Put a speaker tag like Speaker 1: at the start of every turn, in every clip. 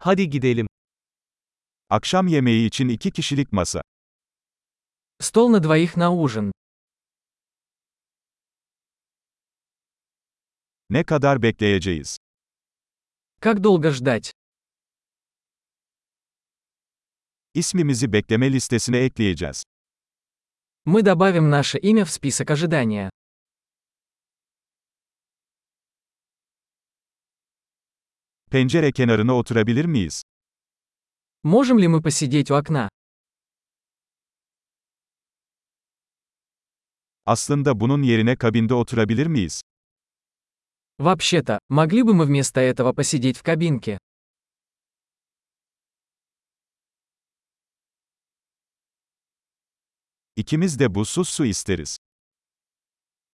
Speaker 1: Hadi gidelim.
Speaker 2: Akşam yemeği için iki kişilik masa.
Speaker 3: Стол на двоих на ужин.
Speaker 2: Ne kadar bekleyeceğiz?
Speaker 3: Как долго ждать?
Speaker 2: İsmimizi bekleme listesine ekleyeceğiz.
Speaker 3: Мы добавим наше имя в список ожидания.
Speaker 2: Pencere kenarına oturabilir miyiz?
Speaker 3: Можем ли мы посидеть у окна?
Speaker 2: Aslında bunun yerine kabinde oturabilir miyiz?
Speaker 3: Вообще-то, могли бы мы вместо этого посидеть в кабинке?
Speaker 2: İkimiz de buzsuz su isteriz.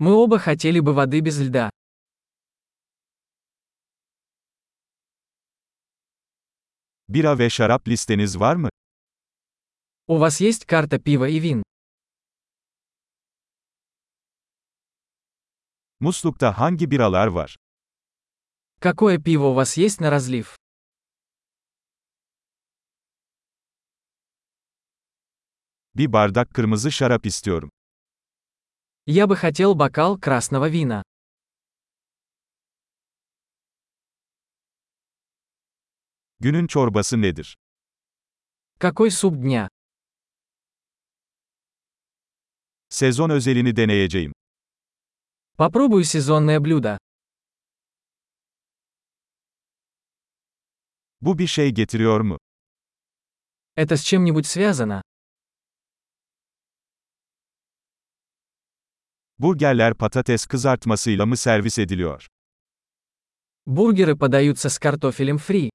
Speaker 3: Мы оба хотели бы воды без льда.
Speaker 2: Bira ve şarap listeniz var mı?
Speaker 3: У вас есть карта пива и вин?
Speaker 2: Muslukta hangi biralar var?
Speaker 3: Какое пиво у вас есть на разлив?
Speaker 2: Bir bardak kırmızı şarap istiyorum.
Speaker 3: Я бы хотел бокал красного вина.
Speaker 2: Günün çorbası nedir?
Speaker 3: Какой суп дня?
Speaker 2: Sezon özelini deneyeceğim.
Speaker 3: Попробую сезонное блюдо.
Speaker 2: Bu bir şey getiriyor mu?
Speaker 3: Это с чем-нибудь связано?
Speaker 2: Burgerler patates kızartmasıyla mı servis ediliyor?
Speaker 3: Бургеры подаются с картофелем фри.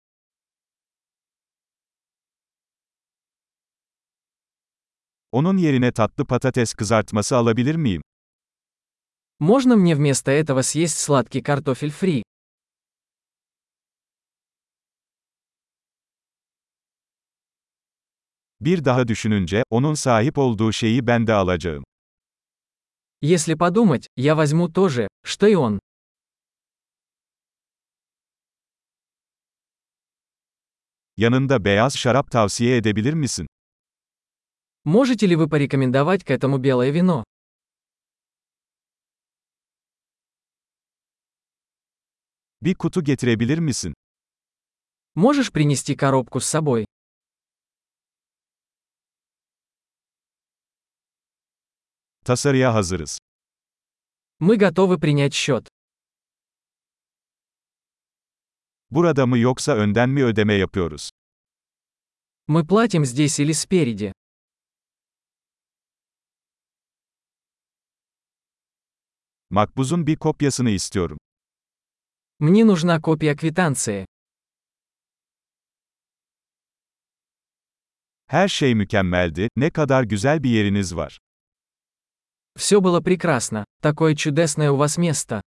Speaker 2: Onun yerine tatlı patates kızartması alabilir miyim?
Speaker 3: Можно мне вместо этого съесть сладкий картофель фри?
Speaker 2: Bir daha düşününce, onun sahip olduğu şeyi ben de alacağım.
Speaker 3: Если подумать, я возьму то же, что и он.
Speaker 2: Yanında beyaz şarap tavsiye edebilir misin?
Speaker 3: Можете ли вы порекомендовать к этому белое вино?
Speaker 2: Bir kutu getirebilir misin?
Speaker 3: Можешь принести коробку с собой?
Speaker 2: Tasarıya hazırız.
Speaker 3: Мы готовы принять счет.
Speaker 2: Burada mı yoksa önden mi ödeme yapıyoruz?
Speaker 3: Мы платим здесь или спереди.
Speaker 2: Makbuzun bir kopyasını istiyorum.
Speaker 3: Мне нужна копия квитанции.
Speaker 2: Her şey mükemmeldi, ne kadar güzel bir yeriniz var.
Speaker 3: Все было прекрасно. Такое чудесное у вас место.